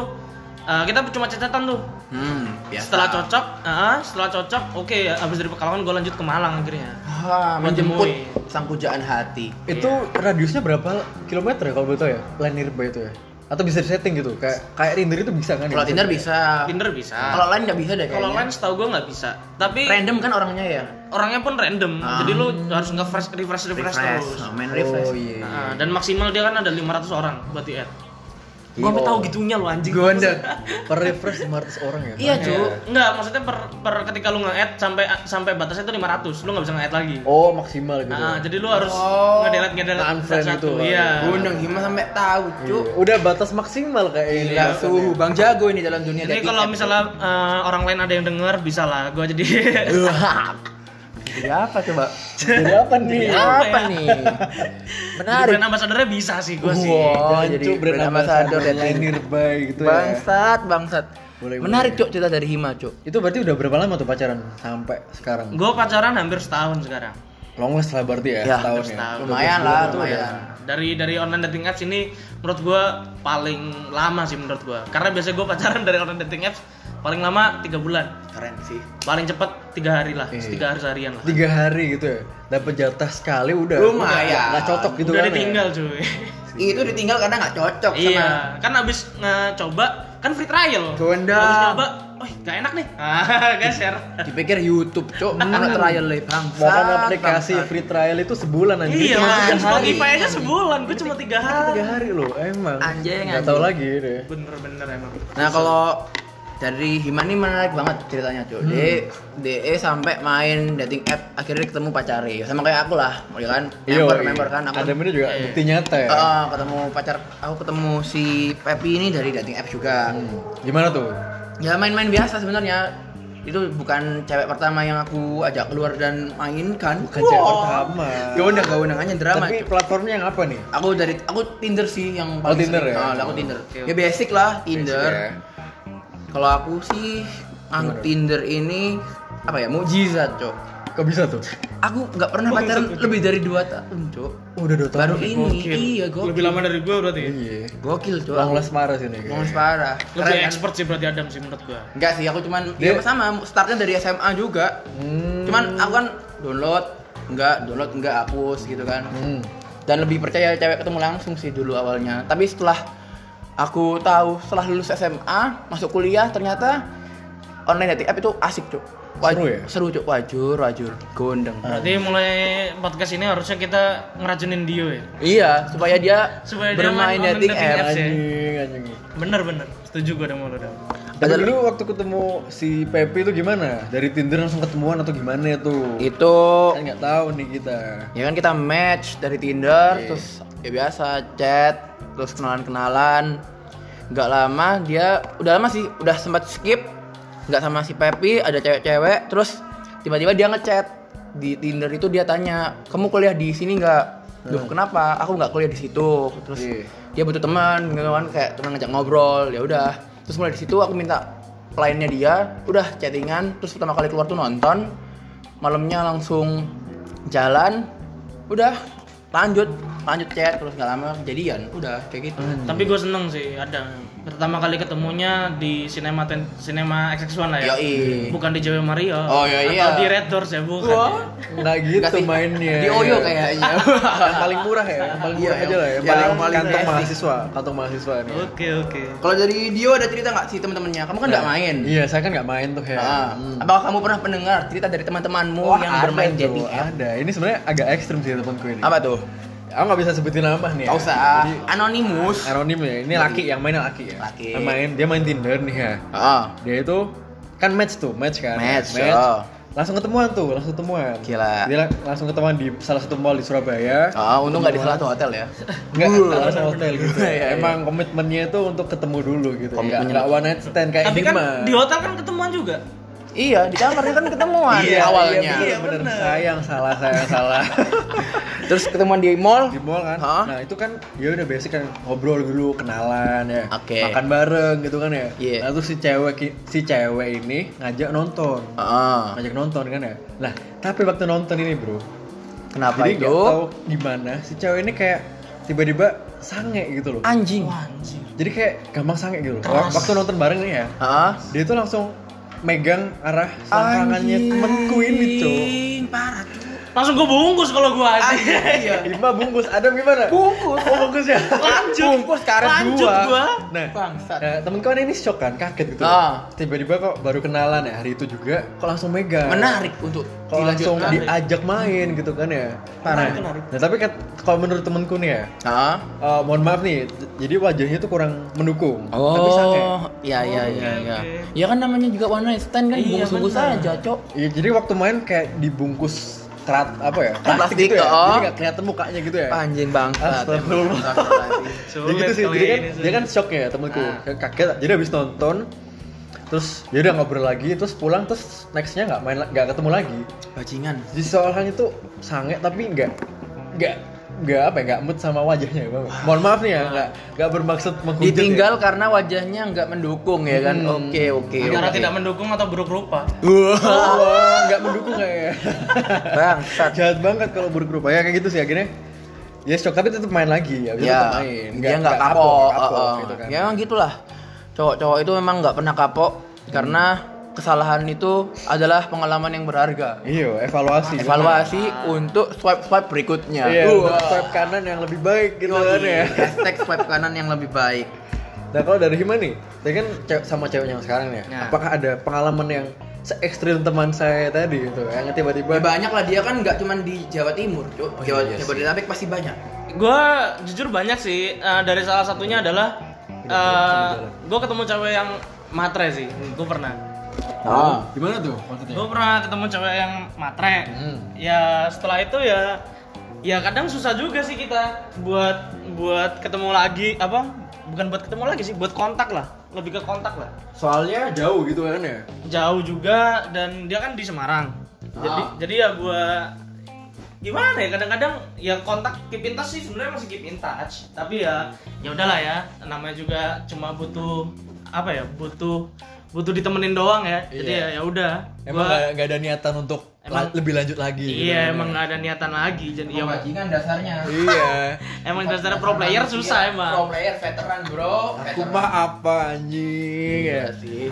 S3: eh, kita cuma cacatan tuh.
S2: Hmm, biasa.
S3: Setelah cocok, eh, setelah cocok, oke abis dari Pekalongan gue lanjut ke Malang akhirnya.
S2: Ah, menjemput
S3: Menemui.
S2: sang pujaan hati.
S1: Itu radiusnya berapa kilometer ya kalau betul ya? Line nearby itu ya. Atau bisa disetting gitu kayak kayak Tinder itu bisa kan? ya?
S2: Kalau Tinder bisa. Nah.
S3: Tinder bisa.
S1: Iya,
S2: Kalau lain nggak bisa deh kayaknya.
S3: Kalau lain setahu gue nggak bisa. Tapi
S2: random kan orangnya ya.
S3: orangnya pun random.
S2: Ah.
S3: Jadi lu harus nggak refresh refresh refresh, terus.
S2: Oh, main refresh.
S1: Oh iya.
S3: Nah, dan maksimal dia kan ada 500 orang buat di add.
S1: Gila.
S3: Gua sampe tahu gitunya lu anjing.
S1: Gue anda per refresh 500 orang ya.
S2: gitu. Iya,
S1: Banyak.
S2: Cuk.
S3: Enggak, maksudnya per, per ketika lu nge-add sampai sampai batasnya itu 500, lu nggak bisa nge-add lagi.
S1: Oh maksimal gitu.
S3: Nah, jadi lu harus
S2: Oh.
S3: nge-delete nge-delete
S1: Unfriend
S3: satu-satu.
S1: gitu.
S3: Iya.
S2: Undang Hima sampai tahu,
S1: Iya.
S2: Cuk.
S1: Udah batas maksimal Iya, kayak ini.
S2: Gila, suhu Bang Jago ini dalam dunia
S3: Jadi
S2: dating
S3: kalau
S2: app.
S3: misalnya eh, orang lain ada yang denger, bisa lah. Gua jadi
S2: Wah. Jadi apa coba?
S1: Jadi apa nih?
S2: Jadi
S3: apa
S2: apa
S3: ya?
S2: nih?
S3: jadi
S2: Menarik.
S3: brand ambassador-nya bisa sih gua sih.
S2: Wow. Oh, jadi
S1: jadi brand
S2: brand
S1: ambassador
S2: ambassador
S1: dan
S2: dating.
S1: nearby gitu ya.
S2: Bangsat, bangsat.
S1: Boleh,
S2: Menarik,
S1: boleh.
S2: Cuk, cerita dari Hima, Cuk.
S1: Itu berarti udah berapa lama tuh pacaran sampai sekarang?
S3: Gua pacaran hampir setahun sekarang.
S1: Longless lah berarti ya,
S2: Ya,
S1: setahun ya.
S3: setahun.
S2: Lumayan lah,
S1: Udah. ya.
S2: lumayan.
S3: Dari dari online dating apps ini menurut gua paling lama sih menurut gua. Karena biasanya gua pacaran dari online dating apps paling lama 3 bulan.
S2: Keren sih.
S3: paling cepat tiga hari lah
S1: Iya.
S3: tiga hari seharian lah
S1: Tiga hari gitu ya. Dapat jatah sekali udah.
S2: Lumayan.
S1: Udah, Nggak cocok gitu
S3: udah
S1: kan. ya.
S3: ditinggal cuy
S2: Itu ditinggal karena nggak cocok
S3: iya
S2: sama
S3: kan abis ngecoba kan free trial
S2: Gondang.
S3: abis nyoba oh gak enak nih ah geser
S2: Dipikir YouTube, Cuk. Kalau trial leh, bangsat.
S1: Bahkan aplikasi
S2: bangsat.
S1: free trial itu sebulan aja.
S3: iya
S1: cuma
S3: kan
S1: tiga hari.
S3: Spotify aja sebulan gue cuma tiga hari
S1: Tiga hari loh, emang.
S2: Anjing,
S1: Nggak tahu
S2: anjing.
S1: lagi deh.
S3: bener-bener emang
S2: Nah kalau dari Hima ini menarik banget ceritanya
S1: Hmm.
S2: cuy. De, DE sampai main dating app akhirnya ketemu pacari. Sama kayak aku lah, ya kan? Member member kan aku.
S1: Iya, Ada ini juga
S3: Iya.
S1: bukti nyata ya.
S2: Eh, ketemu pacar aku ketemu si Pepi ini dari dating app juga.
S1: Hmm. Gimana tuh?
S2: Ya main-main biasa sebenarnya. Itu bukan cewek pertama yang aku ajak keluar dan main kan?
S1: Bukan cewek pertama.
S2: Ya udah gak undangannya drama.
S1: Tapi
S2: cuy.
S1: platformnya yang apa nih?
S2: Aku dari aku Tinder sih yang
S1: Oh, Tinder
S2: sering.
S1: ya?
S2: Ah, aku Tinder.
S3: Oke,
S2: Ya
S3: oke.
S2: basic lah Tinder.
S1: Basic ya.
S2: Kalau aku sih
S1: Gimana?
S2: ang Tinder ini apa ya mujizat, Cok.
S1: ya. Kok bisa tuh?
S2: Aku nggak pernah pacaran lebih dari 2 tahun, Cok.
S1: Oh, Udah dua
S2: Baru
S1: tahun.
S2: ini.
S3: Gokil.
S2: Iya, gokil.
S3: lebih lama dari gue berarti
S1: Iya.
S2: Gokil, Cok.
S1: Longless marah sini.
S2: Longless parah.
S3: lebih
S2: Keren, kan?
S3: expert sih berarti Adam sih menurut gue
S2: Enggak sih, aku cuman
S1: Dia-
S2: ya sama startnya dari SMA juga.
S1: Hmm.
S2: Cuman aku kan download, enggak download, enggak hapus gitu kan.
S1: Hmm.
S2: dan lebih percaya cewek ketemu langsung sih dulu awalnya tapi setelah aku tahu setelah lulus SMA masuk kuliah ternyata online dating app itu asik cuk
S1: Seru ya?
S2: seru cuk wajur wajur gondeng
S3: berarti mulai podcast ini harusnya kita ngeracunin Dio ya
S2: iya supaya dia
S3: Supaya dia
S2: bermain
S3: main
S2: dating
S3: online
S2: app
S3: dating apps ya?
S1: Anjing, anjing.
S3: bener-bener setuju gue dengan lo Dam.
S1: Tapi
S2: Ada-
S1: dulu waktu ketemu si Pepe itu gimana? Dari Tinder langsung ketemuan atau gimana tuh?
S2: itu
S1: Kan nggak tahu nih kita.
S2: ya kan kita match dari Tinder
S1: Iya.
S2: terus ya biasa chat terus kenalan kenalan nggak lama dia udah lama sih udah sempat skip nggak sama si Pepi ada cewek-cewek terus tiba-tiba dia ngechat di Tinder itu dia tanya kamu kuliah di sini nggak Duh, kenapa aku nggak kuliah di situ terus
S1: Nah. Iya.
S2: dia butuh teman gitu kan kayak teman ngajak ngobrol ya udah terus mulai di situ aku minta lainnya dia udah chattingan terus pertama kali keluar tuh nonton malamnya langsung jalan udah lanjut lanjut chat terus nggak lama kejadian udah kayak gitu
S3: Tapi gue seneng sih ada pertama kali ketemunya di Cinema Twen- Cinema XX1 lah ya.
S2: Yoi.
S3: Bukan di JW Mario.
S2: Oh, iya, iya.
S3: Atau di Red Doors ya bukan.
S2: Wah.
S1: Nggak
S2: Nggak
S1: gitu
S2: sih,
S1: mainnya. Iya.
S2: di Oyo kayaknya
S1: yang paling murah ya, yang paling
S2: Iya,
S1: murah aja lah ya.
S2: yang-
S1: Paling,
S2: yang paling
S1: kantong
S2: basic.
S1: mahasiswa, kantong mahasiswa nih.
S3: ya? Oke oke.
S2: kalau dari Dio ada cerita nggak sih teman-temannya kamu kan nggak main
S1: Iya, saya kan nggak main tuh ya.
S2: Ah,
S1: Hmm.
S2: apakah kamu pernah mendengar cerita dari teman-temanmu
S1: Wah,
S2: yang
S1: ada
S2: bermain
S1: tuh,
S2: dating app?
S1: Ada. Ini sebenarnya agak ekstrim sih temanku ini.
S2: Apa tuh?
S1: Aku nggak bisa sebutin nama nih. ya.
S2: Gak usah.
S1: Jadi,
S2: Anonimus.
S1: anonim ya. Ini laki yang main laki ya.
S2: Laki.
S1: Yang main dia main Tinder nih ya.
S2: Ah,
S1: Dia itu kan match tuh, match kan.
S2: Match,
S1: Match.
S2: oh.
S1: langsung ketemuan tuh langsung ketemuan
S2: Gila.
S1: dia lang- langsung ketemuan di salah satu mall di Surabaya
S2: Ah, untung nggak di salah satu hotel ya.
S1: nggak salah satu hotel gitu
S2: Iya, iya.
S1: emang komitmennya itu untuk ketemu dulu gitu nggak
S2: Komitmennya.
S1: nggak one night stand
S2: Eh,
S1: kayak
S3: Tapi kan
S1: Hima.
S3: di hotel kan ketemuan juga.
S2: Iya, di kamarnya kan ketemuan
S1: iya,
S2: awalnya.
S1: iya, iya, bener. sayang salah sayang salah
S2: Terus ketemuan di mall.
S1: di mall kan
S2: Hah?
S1: nah itu kan ya udah basic kan ngobrol dulu kenalan ya
S2: Oke.
S1: makan bareng gitu kan ya
S2: Iya.
S1: Nah, terus si cewek ki- si cewek ini ngajak nonton
S2: Ah,
S1: ngajak nonton kan ya nah tapi waktu nonton ini bro
S2: kenapa
S1: jadi
S2: ya? itu?
S1: nggak tahu gimana si cewek ini kayak tiba-tiba sange gitu loh
S2: Anjing.
S3: Wah, anjir.
S1: jadi kayak gampang sange gitu loh
S3: Keras.
S1: waktu nonton bareng nih ya
S2: Ah,
S1: dia tuh langsung megang arah selangkangannya temenku ini tuh
S2: Anjing, Parah tuh.
S3: Langsung gue bungkus kalau gue anjir.
S2: Iya.
S1: Lima bungkus, Adam gimana?
S2: Bungkus.
S1: Oh bungkus ya?
S3: Lanjut.
S2: Bungkus karet
S3: Lanjut
S2: dua.
S3: gua.
S1: Nah,
S2: Bangsat.
S1: eh, temen kawan ini shock kan, kaget gitu.
S2: Ah.
S1: Tiba-tiba kok baru kenalan ya hari itu juga, kok langsung megang.
S2: Menarik untuk
S1: Kok langsung
S2: dilanjutkan.
S3: Menarik.
S1: diajak main gitu kan ya.
S2: Parah.
S1: Nah, Nah, tapi kan kalau menurut temenku nih ya,
S2: Ah.
S1: eh, mohon maaf nih, j- jadi wajahnya tuh kurang mendukung. Tapi sange.
S2: Oh, iya iya
S3: Oke,
S2: iya iya.
S3: oke.
S2: Ya kan namanya juga one night stand kan
S3: Iya,
S2: bungkus-bungkus
S3: benar.
S2: aja, Cok.
S1: Iya, jadi waktu main kayak dibungkus kerat apa ya?
S2: Plastik,
S1: gitu ya.
S2: oh.
S1: Jadi nggak kelihatan mukanya gitu ya.
S2: Anjing bangsat.
S1: Astagfirullah. ya gitu sih,
S3: kali
S1: jadi kan,
S3: ini,
S1: dia
S3: sulit.
S1: kan shock ya temenku
S2: Ah.
S1: Kayak kaget, jadi habis nonton Terus ya udah ngobrol lagi, terus pulang, terus nextnya nggak main, la- nggak ketemu lagi
S2: Bajingan.
S1: Jadi seolah itu sange tapi nggak, nggak, nggak apa ya, nggak mood sama wajahnya ya Bang. Mohon maaf nih ya, nggak, nggak bermaksud menghujat ya.
S2: Ah. Ditinggal karena wajahnya nggak mendukung ya kan.
S1: Hmm.
S2: Oke, oke.
S3: Antara
S2: oke.
S3: tidak mendukung atau buruk rupa.
S2: Wah,
S1: Wah, nggak mendukung kayaknya
S2: Bangsat.
S1: Jahat banget kalau buruk rupa, ya kayak gitu sih akhirnya Ya shock tapi tetap main lagi, ya,
S2: Ya,
S1: tetap main
S2: dia nggak
S1: nggak
S2: kapok.
S1: nggak kapok,
S2: heeh.
S1: gitu kan.
S2: Ya emang gitulah. Cowok-cowok itu memang nggak pernah kapok karena kesalahan itu adalah pengalaman yang berharga.
S1: Iya, evaluasi
S2: Evaluasi Uh. untuk swipe-swipe berikutnya.
S1: Iya,
S2: Wah.
S1: untuk swipe kanan yang lebih baik
S2: Iya,
S1: gitu kan ya.
S2: Hashtag swipe kanan yang lebih baik.
S1: Nah kalau dari Hima nih, saya kan cew- sama ceweknya yang sekarang nih.
S3: Nah.
S1: ya Apakah ada pengalaman yang se ekstrim teman saya tadi gitu, yang
S2: Ya,
S1: tiba-tiba
S2: banyak lah dia kan nggak cuma di Jawa Timur,
S1: Oh,
S2: Cuk. Jawa
S1: iya sih.
S2: Jabodetabek pasti banyak.
S3: Gue jujur banyak sih. eh, dari salah satunya adalah eh gue ketemu cewek yang matre sih. Gue pernah.
S2: Ah.
S1: Oh. gimana tuh maksudnya?
S3: Gue pernah ketemu cewek yang matre.
S1: Hmm.
S3: Ya setelah itu ya ya kadang susah juga sih kita buat buat ketemu lagi apa bukan buat ketemu lagi sih buat kontak lah lebih ke kontak lah
S1: Soalnya jauh gitu kan ya.
S3: jauh juga dan dia kan di Semarang jadi
S2: Ah.
S3: jadi ya gua gimana ya kadang-kadang ya kontak keep in touch sih sebenarnya masih keep in touch tapi ya ya udahlah ya namanya juga cuma butuh apa ya butuh butuh ditemenin doang ya jadi
S1: Iya.
S3: ya ya udah
S1: Emang
S3: Gua-
S1: nggak nggak ada niatan untuk
S3: Emang-
S1: la- lebih lanjut lagi. gitu
S3: iya
S1: kan
S3: emang
S1: ya.
S3: nggak ada niatan lagi jadi ya
S2: bajingan dasarnya. Iya,
S1: Iya.
S3: emang dasarnya pro player susah
S2: Pro
S3: emang
S2: player veteran, Bro.
S1: Aku mah apa anjing ya.
S2: Iya sih.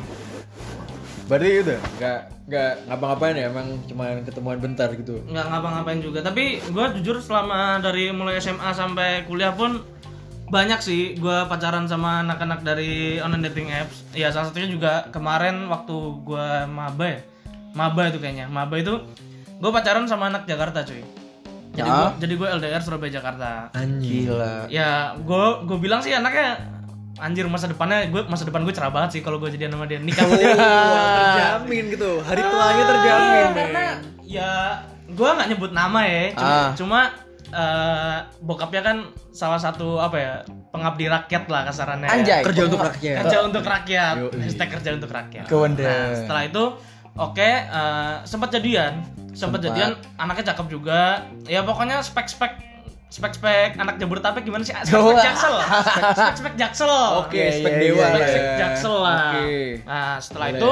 S1: Berarti udah nggak nggak ngapa-ngapain ya, emang cuma ketemuan bentar gitu.
S3: nggak ngapa-ngapain juga tapi gue jujur selama dari mulai SMA sampai kuliah pun banyak sih gue pacaran sama anak-anak dari online dating apps ya salah satunya juga kemarin waktu gue maba ya maba itu kayaknya maba itu gue pacaran sama anak Jakarta cuy jadi
S2: Ya.
S3: gue jadi gue LDR Surabaya Jakarta
S1: Anjing.
S2: Gila.
S3: ya gue gue bilang sih anaknya anjir masa depannya gue masa depan gue cerah banget sih kalau gue jadian sama dia nikah sama dia.
S1: Iya, terjamin gitu, hari tuanya terjamin.
S3: Iya, karena ya gua nggak nyebut nama ya cuma,
S2: Ah.
S3: cuma, eh, bokapnya kan salah satu apa ya pengabdi rakyat lah kasarannya ya.
S2: Anjay.
S1: Kerja untuk rakyat.
S3: kerja untuk rakyat
S1: Yoi.
S3: hashtag kerja untuk rakyat
S1: Kewende.
S3: nah setelah itu oke eh, sempat jadian
S2: Sempat.
S3: sempat jadian anaknya cakep juga ya pokoknya spek spek spek spek anak jabodetabek gimana sih spek
S2: Wah.
S3: spek jaksel spek spek jaksel
S1: Oke, spek
S2: iya,
S1: dewa
S2: iya,
S1: lah
S3: Jaksel,
S1: ya.
S3: Jaksel lah.
S1: Oke.
S3: Nah setelah
S1: Boleh.
S3: itu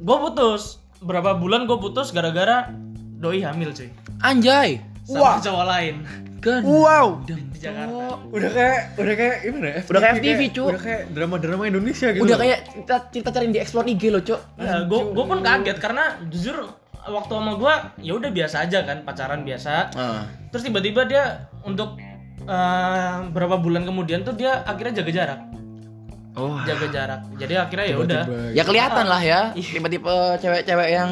S3: gue putus. Berapa bulan gue putus gara-gara doi hamil cuy
S2: Anjay. kan?
S3: sama cowok lain
S2: Gan.
S1: Wow.
S3: di Jakarta.
S1: Udah kayak udah kayak gimana ya?
S2: Udah kayak FTV, cu.
S1: Udah kayak drama-drama Indonesia gitu.
S2: Udah kayak cerita cerita cari di explore IG lo, Cok.
S3: Ya gue gue pun kaget karena jujur waktu sama gue ya udah biasa aja kan pacaran biasa.
S2: Nah,
S3: Terus tiba-tiba dia untuk eh, berapa bulan kemudian tuh dia akhirnya jaga jarak
S2: Oh.
S3: jaga jarak jadi akhirnya ya udah
S2: Iya. Ya kelihatan lah ya, tipe-tipe cewek-cewek yang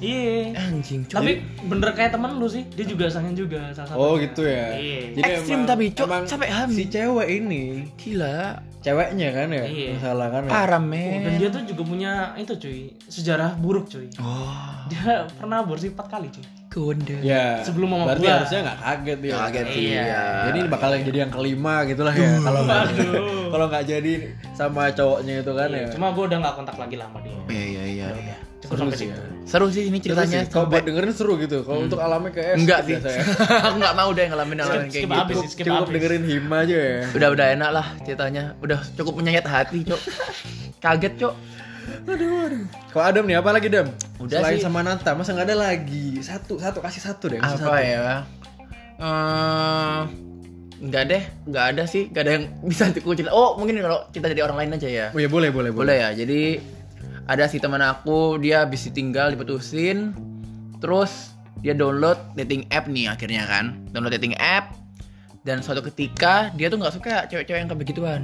S3: Iya.
S1: Eh,
S2: Anjing, cuy.
S3: Tapi bener kayak temen lu sih, dia juga sangen juga salah satu.
S1: Oh gitu ya.
S3: Iya.
S2: Ekstrim tapi, Cok, sampai hamil.
S1: Si cewek ini,
S2: gila.
S1: ceweknya kan ya,
S3: Iya.
S1: masalah kan ya.
S2: Parah,
S3: Oh, dan
S2: men.
S3: dia tuh juga punya itu cuy, sejarah buruk cuy.
S2: Oh,
S3: Dia pernah aborsi 4 kali cuy.
S2: gondel.
S1: Ya.
S3: Sebelum mama
S1: Berarti
S3: gua.
S1: harusnya nggak kaget ya.
S2: Kaget
S3: Iya.
S2: dia.
S1: Jadi ini bakal yang jadi yang kelima gitu lah ya. Kalau nggak
S3: Aduh.
S1: kalau nggak jadi sama cowoknya itu kan
S3: Iya,
S1: ya.
S3: Cuma gue udah nggak kontak lagi lah sama dia.
S2: Iya, iya, iya. iya.
S3: Cukup
S1: Seru
S3: sampai
S1: sih
S3: situ.
S1: Oh, ya.
S2: Seru sih ya. ini ceritanya.
S1: Terus sih, kalau buat dengerin seru gitu.
S3: Hmm.
S1: Kalau untuk alamnya kayak
S2: Enggak sih.
S1: skip biasanya.
S2: Aku enggak mau deh ngalamin ngalamin kayak
S3: Skip- skip
S2: gitu.
S3: abis sih, skip
S1: Cukup
S3: abis.
S1: dengerin Hima aja ya.
S2: Udah udah enak lah ceritanya. Udah cukup menyayat hati, Cok. Kaget, Cok.
S1: Kalau Adam nih apa lagi Dam?
S2: Udah
S1: Selain
S2: sih.
S1: sama Nata, masa nggak ada lagi? Satu, satu kasih satu deh. kasih
S2: Apa
S1: satu.
S2: ya? Eh, enggak deh, enggak ada sih, enggak ada yang bisa aku cerita. Oh, mungkin kalau kita jadi orang lain aja ya.
S1: Oh ya boleh, boleh, boleh.
S2: Boleh ya. Jadi ada sih teman aku, dia habis ditinggal, diputusin. Terus dia download dating app nih akhirnya kan. Download dating app dan suatu ketika dia tuh nggak suka cewek-cewek yang kayak begituan.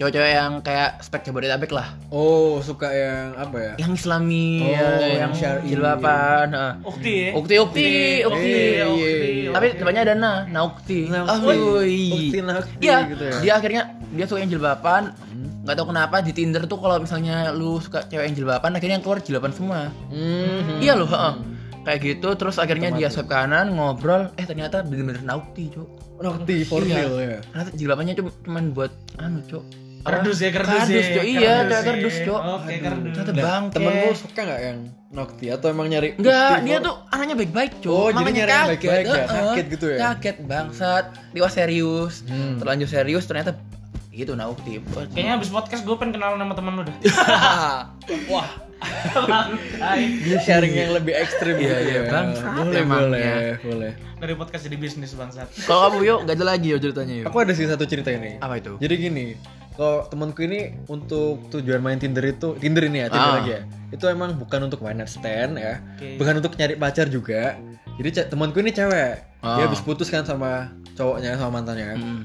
S2: Cewek-cewek yang kayak spek Jabodetabek lah.
S1: Oh suka yang apa ya?
S2: Yang Islami,
S1: Oh,
S2: ya, yang
S1: yang syar'i.
S2: jilbaban. nah.
S3: Ukti ya.
S2: Ukti, ukti, ukti.
S1: Iya, iya, iya.
S2: Tapi depannya ada nah, Naukti.
S1: Naukti. Ukti, Naukti
S2: Iya,
S1: gitu ya. Hmm.
S2: dia akhirnya dia suka yang jilbaban. Nggak tahu kenapa di Tinder tuh kalau misalnya lu suka cewek yang jilbaban, akhirnya yang keluar jilbaban semua.
S1: Mhm.
S2: Iya loh, heeh. Kayak gitu, terus akhirnya dia swipe kanan, ngobrol, eh ternyata bener-bener Naukti, Cuk.
S1: Nokti for
S2: Iya.
S1: real ya.
S2: Ternyata jilbabannya cuma cuman buat anu, Cuk. Apa?
S3: Kerdus ya, kerdus, ya.
S2: Cuk. Iya, cewek
S3: ya.
S2: kerdus, Cuk.
S3: Oke, kerdus.
S2: Ternyata
S1: Nah, Oh.
S2: bangke.
S1: temen lu suka nggak yang Nokti atau emang nyari?
S2: Enggak,
S1: ukti
S2: dia
S1: for-
S2: tuh anaknya baik-baik, Cuk.
S1: Oh, jadi nyari yang baik-baik ya,
S2: heeh.
S1: sakit gitu ya?
S2: Kaget bangsat, dia serius.
S1: Hmm.
S2: Terlanjur serius ternyata gitu naukti.
S3: Kayaknya abis podcast gue pengen kenalan sama temen lu dah.
S1: Wah,
S3: Bangkai.
S1: dia sharing yang lebih ekstrim
S2: Iya,
S1: gitu
S2: iya,
S1: ya.
S2: bangsat
S1: Boleh,
S2: emangnya.
S1: boleh, boleh.
S3: Dari podcast jadi bisnis bangsat.
S2: Kalau kamu yuk, gak ada lagi yo ceritanya yuk.
S1: Aku ada sih satu cerita ini.
S2: Iya. Apa itu?
S1: Jadi gini, kalau temanku ini untuk tujuan main Tinder itu Tinder ini ya, Tinder
S2: Ah.
S1: lagi ya. Itu emang bukan untuk one night stand ya,
S3: Oke.
S1: bukan untuk nyari pacar juga. Jadi ce- temanku ini cewek, dia
S2: Ah.
S1: habis putus kan sama cowoknya sama mantannya. kan.
S2: Hmm.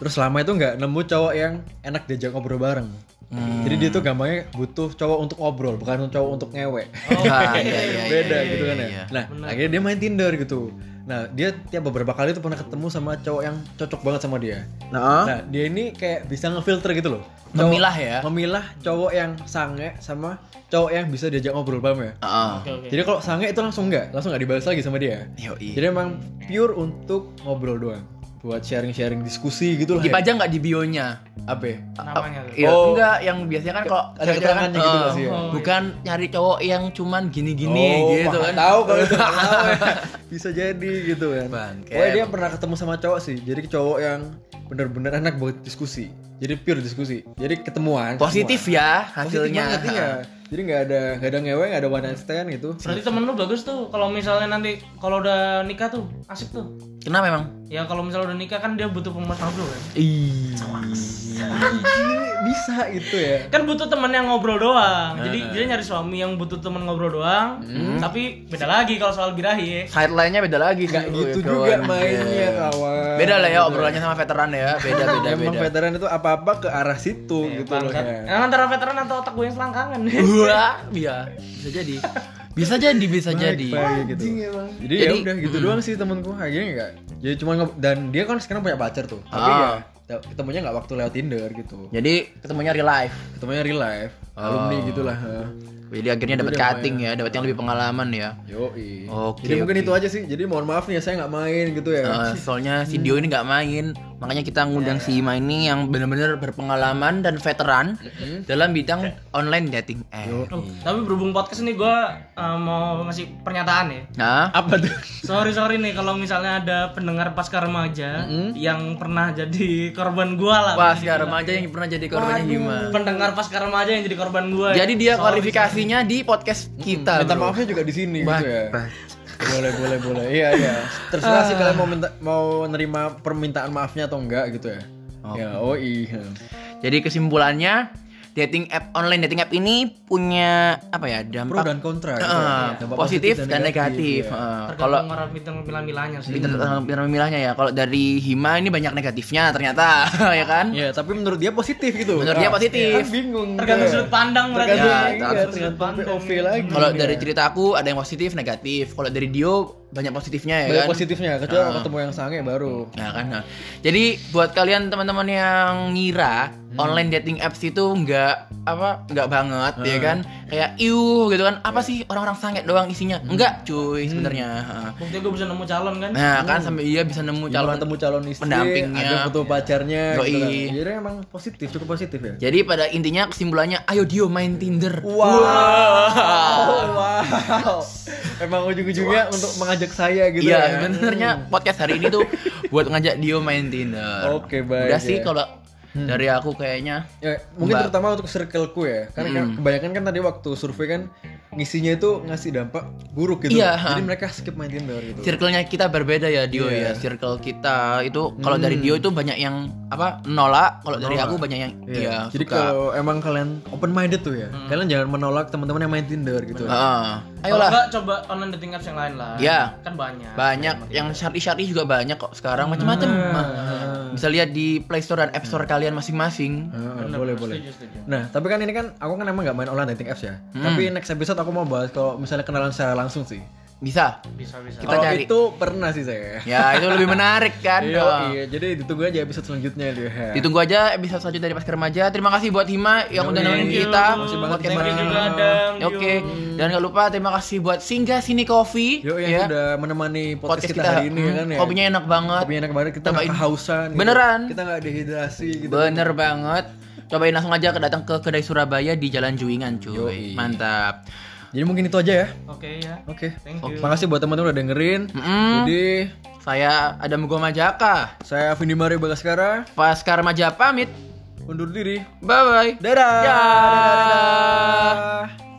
S1: Terus lama itu nggak nemu cowok yang enak diajak ngobrol bareng.
S2: Hmm.
S1: Jadi dia tuh gampangnya butuh cowok untuk ngobrol, bukan cowok untuk ngewek.
S2: Ah, iya, iya, iya,
S1: Beda
S2: iya,
S1: gitu kan ya.
S2: iya.
S1: Nah, akhirnya dia main Tinder gitu. Nah, dia tiap beberapa kali tuh pernah ketemu sama cowok yang cocok banget sama dia.
S2: Nah,
S1: Nah, dia ini kayak bisa ngefilter gitu loh.
S2: Memilah ya?
S1: Memilah cowok yang sange sama cowok yang bisa diajak ngobrol, paham ya?
S2: heeh.
S3: Oke, oke.
S1: Jadi kalau sange itu langsung nggak, langsung nggak dibahas lagi sama dia.
S2: Yoi.
S1: Jadi emang pure untuk ngobrol doang, buat sharing-sharing diskusi gitu lah. ya.
S2: Dipajang nggak di bionya?
S1: Apa? ya?
S3: Namanya tuh.
S2: Iya,
S1: Oh.
S2: enggak yang biasanya kan kalau
S1: Ada keterangannya gitu
S2: eh,
S1: nggak sih ya?
S2: Bukan nyari cowok yang cuman gini-gini
S1: oh,
S2: gitu
S1: wah,
S2: kan.
S1: Tahu kalau itu nggak tahu ya. Bisa jadi gitu kan.
S2: Bangke.
S1: Pokoknya dia pernah ketemu sama cowok sih. Jadi cowok yang bener-bener enak buat diskusi. Jadi pure diskusi. Jadi ketemuan.
S2: Positif ya
S1: Positif
S2: hasilnya.
S1: banget, iya. Jadi nggak ada nggak ada ngewe, nggak ada one night stand gitu.
S3: Berarti temen lu bagus tuh. Kalau misalnya nanti kalau udah nikah tuh asik tuh.
S2: Kenapa emang?
S3: Ya kalau misalnya udah nikah kan dia butuh pemandu kan.
S2: Ih.
S1: bisa gitu ya.
S3: Kan butuh temen yang ngobrol doang.
S2: Eh,
S3: Jadi dia nyari suami yang butuh temen ngobrol doang.
S2: Hmm.
S3: Tapi beda lagi kalau soal birahi ya.
S2: Sideline-nya beda lagi sih.
S1: Nggak
S2: Wih,
S1: gitu
S2: kawan.
S1: juga mainnya kawan.
S2: Beda lah ya obrolannya sama veteran ya, beda beda
S1: Emang
S2: beda. Iya,
S1: veteran itu apa-apa ke arah situ gitu loh
S3: Bangsat.
S1: ya.
S3: Yang antara veteran atau otak gue yang selangkangan.
S2: Wah, iya, bisa jadi. Bisa jadi, bisa jadi.
S1: Baik, gitu. Jadi, ya
S2: Iya, Jadi- Hmm.
S1: udah gitu doang sih temanku akhirnya enggak. Jadi cuma ngob- dan dia kan sekarang punya pacar tuh. Tapi
S2: Ah.
S1: ya te- ketemunya nggak waktu lewat Tinder gitu.
S2: Jadi ketemunya real life.
S1: Ketemunya real life, alumni
S2: Ah.
S1: gitulah.
S2: Jadi akhirnya dapat cutting ya, dapat yang lebih pengalaman ya.
S1: Yo, Iya.
S2: Oke,
S1: Jadi mungkin itu aja sih. Jadi mohon maaf nih ya saya nggak main gitu ya.
S2: Eh, soalnya si Dio ini nggak main, makanya kita ngundang si Ima ini yang benar-benar berpengalaman dan veteran dalam bidang online dating Eh, app.
S3: Oh, tapi berhubung podcast ini gue uh, mau ngasih pernyataan ya.
S2: Nah,
S1: Apa tuh?
S3: Sorry sorry nih kalau misalnya ada pendengar pasca remaja yang pernah jadi korban gue lah.
S2: wah sekarang aja yang pernah jadi korbannya Ima.
S3: Pendengar pasca remaja yang jadi korban ya. gue.
S2: Jadi dia klarifikasinya di podcast kita.
S1: Minta
S2: bro.
S1: maafnya juga di sini gitu ya.
S2: Bah- Ah.
S1: Boleh, boleh, boleh. Iya, iya. Terserah sih kalian mau minta mau nerima
S2: Oh.
S1: permintaan maafnya atau enggak gitu ya. Ya, oi.
S2: Jadi kesimpulannya dating app online dating app ini punya apa ya
S1: pro
S2: dampak
S1: dan kontra
S2: eh,
S1: gitu ya. Dampak
S2: positif dan negatif.
S1: ya.
S2: Eh, Kalau Iya.
S3: Tergantung orang bintang pilihan-pilihannya sih.
S2: pinter pinter memilahnya ya. Kalau dari Hima ini banyak negatifnya ternyata ya kan.
S1: Ya, tapi menurut dia positif gitu.
S2: Menurut dia positif.
S1: Kan bingung.
S3: Iya. Tergantung
S1: dia.
S3: sudut pandang berarti.
S1: Tergantung,
S2: Ya,
S1: iya,
S2: tergantung
S1: tergantung POV lagi.
S2: Kalau
S1: Iya.
S2: dari cerita aku ada yang positif, negatif. Kalau dari Dio banyak positifnya ya
S1: banyak
S2: kan.
S1: positifnya, kecuali kalau ketemu yang sange baru.
S2: Ya kan. nah. Jadi buat kalian teman-teman yang ngira
S1: Hmm.
S2: online dating apps itu nggak apa nggak banget ya
S1: Hmm.
S2: kan kayak iuh gitu kan apa sih orang-orang sange doang isinya
S1: Hmm.
S2: enggak cuy sebenarnya Heeh.
S3: Bukti gue bisa nemu calon kan.
S2: nah kan sampai iya bisa nemu
S1: Calon Hmm.
S2: calon
S1: ketemu calon istri,
S2: pendampingnya. Iya.
S1: ada foto pacarnya gitu kan.
S2: Yoi.
S1: Jadi emang positif, cukup positif ya.
S2: jadi pada intinya kesimpulannya ayo Dio main Tinder
S1: Oh, wow. Emang ujung-ujungnya untuk mengajak saya gitu
S2: Iya,
S1: ya.
S2: sebenarnya podcast hari ini tuh buat ngajak Dio main Tinder.
S1: Oke, baik ya.
S2: Udah sih kalau dari aku kayaknya.
S1: Ya, mungkin
S2: Mbak. Hmm.
S1: terutama untuk circleku ya. Karena kan kebanyakan kan tadi waktu survei kan ngisinya itu ngasih dampak buruk gitu.
S2: Iya.
S1: Jadi mereka skip main Tinder gitu.
S2: Circle-nya kita berbeda ya Dio
S1: Iya. Hmm.
S2: ya. Circle kita itu kalau dari Dio itu banyak yang apa? nolak, kalau dari aku banyak yang
S1: Iya.
S2: iya
S1: Jadi
S2: suka. Hmm.
S1: kalau emang kalian open minded tuh ya, kalian jangan menolak teman-teman yang main Tinder gitu.
S2: Heeh.
S3: Kalau
S2: Ayolah.
S3: enggak coba online dating apps yang lain lah.
S2: Iya.
S3: Kan banyak.
S2: Banyak yang syari-syari juga banyak kok sekarang macam-macam.
S1: Hmm.
S2: Nah, Bisa lihat di Play Store dan App Store kalian masing-masing.
S1: Heeh, boleh boleh.
S3: Setuju, Iya, setuju.
S1: Nah, tapi kan ini kan aku kan emang nggak main online dating apps ya. Tapi next episode aku mau bahas kalau misalnya kenalan secara langsung sih.
S2: Bisa.
S3: Bisa bisa.
S2: Kita
S1: Kalau
S2: cari.
S1: itu pernah sih saya.
S2: Ya, itu lebih menarik kan. dong.
S1: Iya, jadi ditunggu aja episode selanjutnya dia.
S2: Ditunggu aja episode selanjutnya dari Mas Remaja. Terima kasih buat Hima yang udah nemenin kita.
S1: Makasih banget,
S2: Podcast
S1: Hima.
S2: hari ini.
S1: Thank you,
S3: Adam,
S2: Oke, dan gak lupa terima kasih buat Singgah Sini Coffee.
S1: Yo yang
S2: ya.
S1: udah menemani podcast,
S2: Podcast
S1: kita,
S2: kita. Hmm,
S1: hari ini ya kan ya.
S2: Kopinya enak banget.
S1: Kopinya enak banget, kita nggak
S2: Tambahin.
S1: kehausan. gitu.
S2: Beneran.
S1: Kita nggak dehidrasi gitu.
S2: Bener banget. Cobain langsung aja ke datang ke kedai Surabaya di Jalan Juingan, cuy.
S1: Yoi.
S2: Mantap.
S1: Jadi mungkin itu aja ya.
S3: Oke ya.
S1: Oke.
S3: Thank you.
S1: Makasih buat teman-teman udah dengerin.
S2: Mm-mm.
S1: Jadi
S2: Saya Adam Goma Jaka.
S1: saya Vindi Mario Bagaskara
S2: Pasca Remaja pamit.
S1: undur diri.
S2: Bye bye.
S1: Dadah.
S2: Dadah.
S1: Dadah.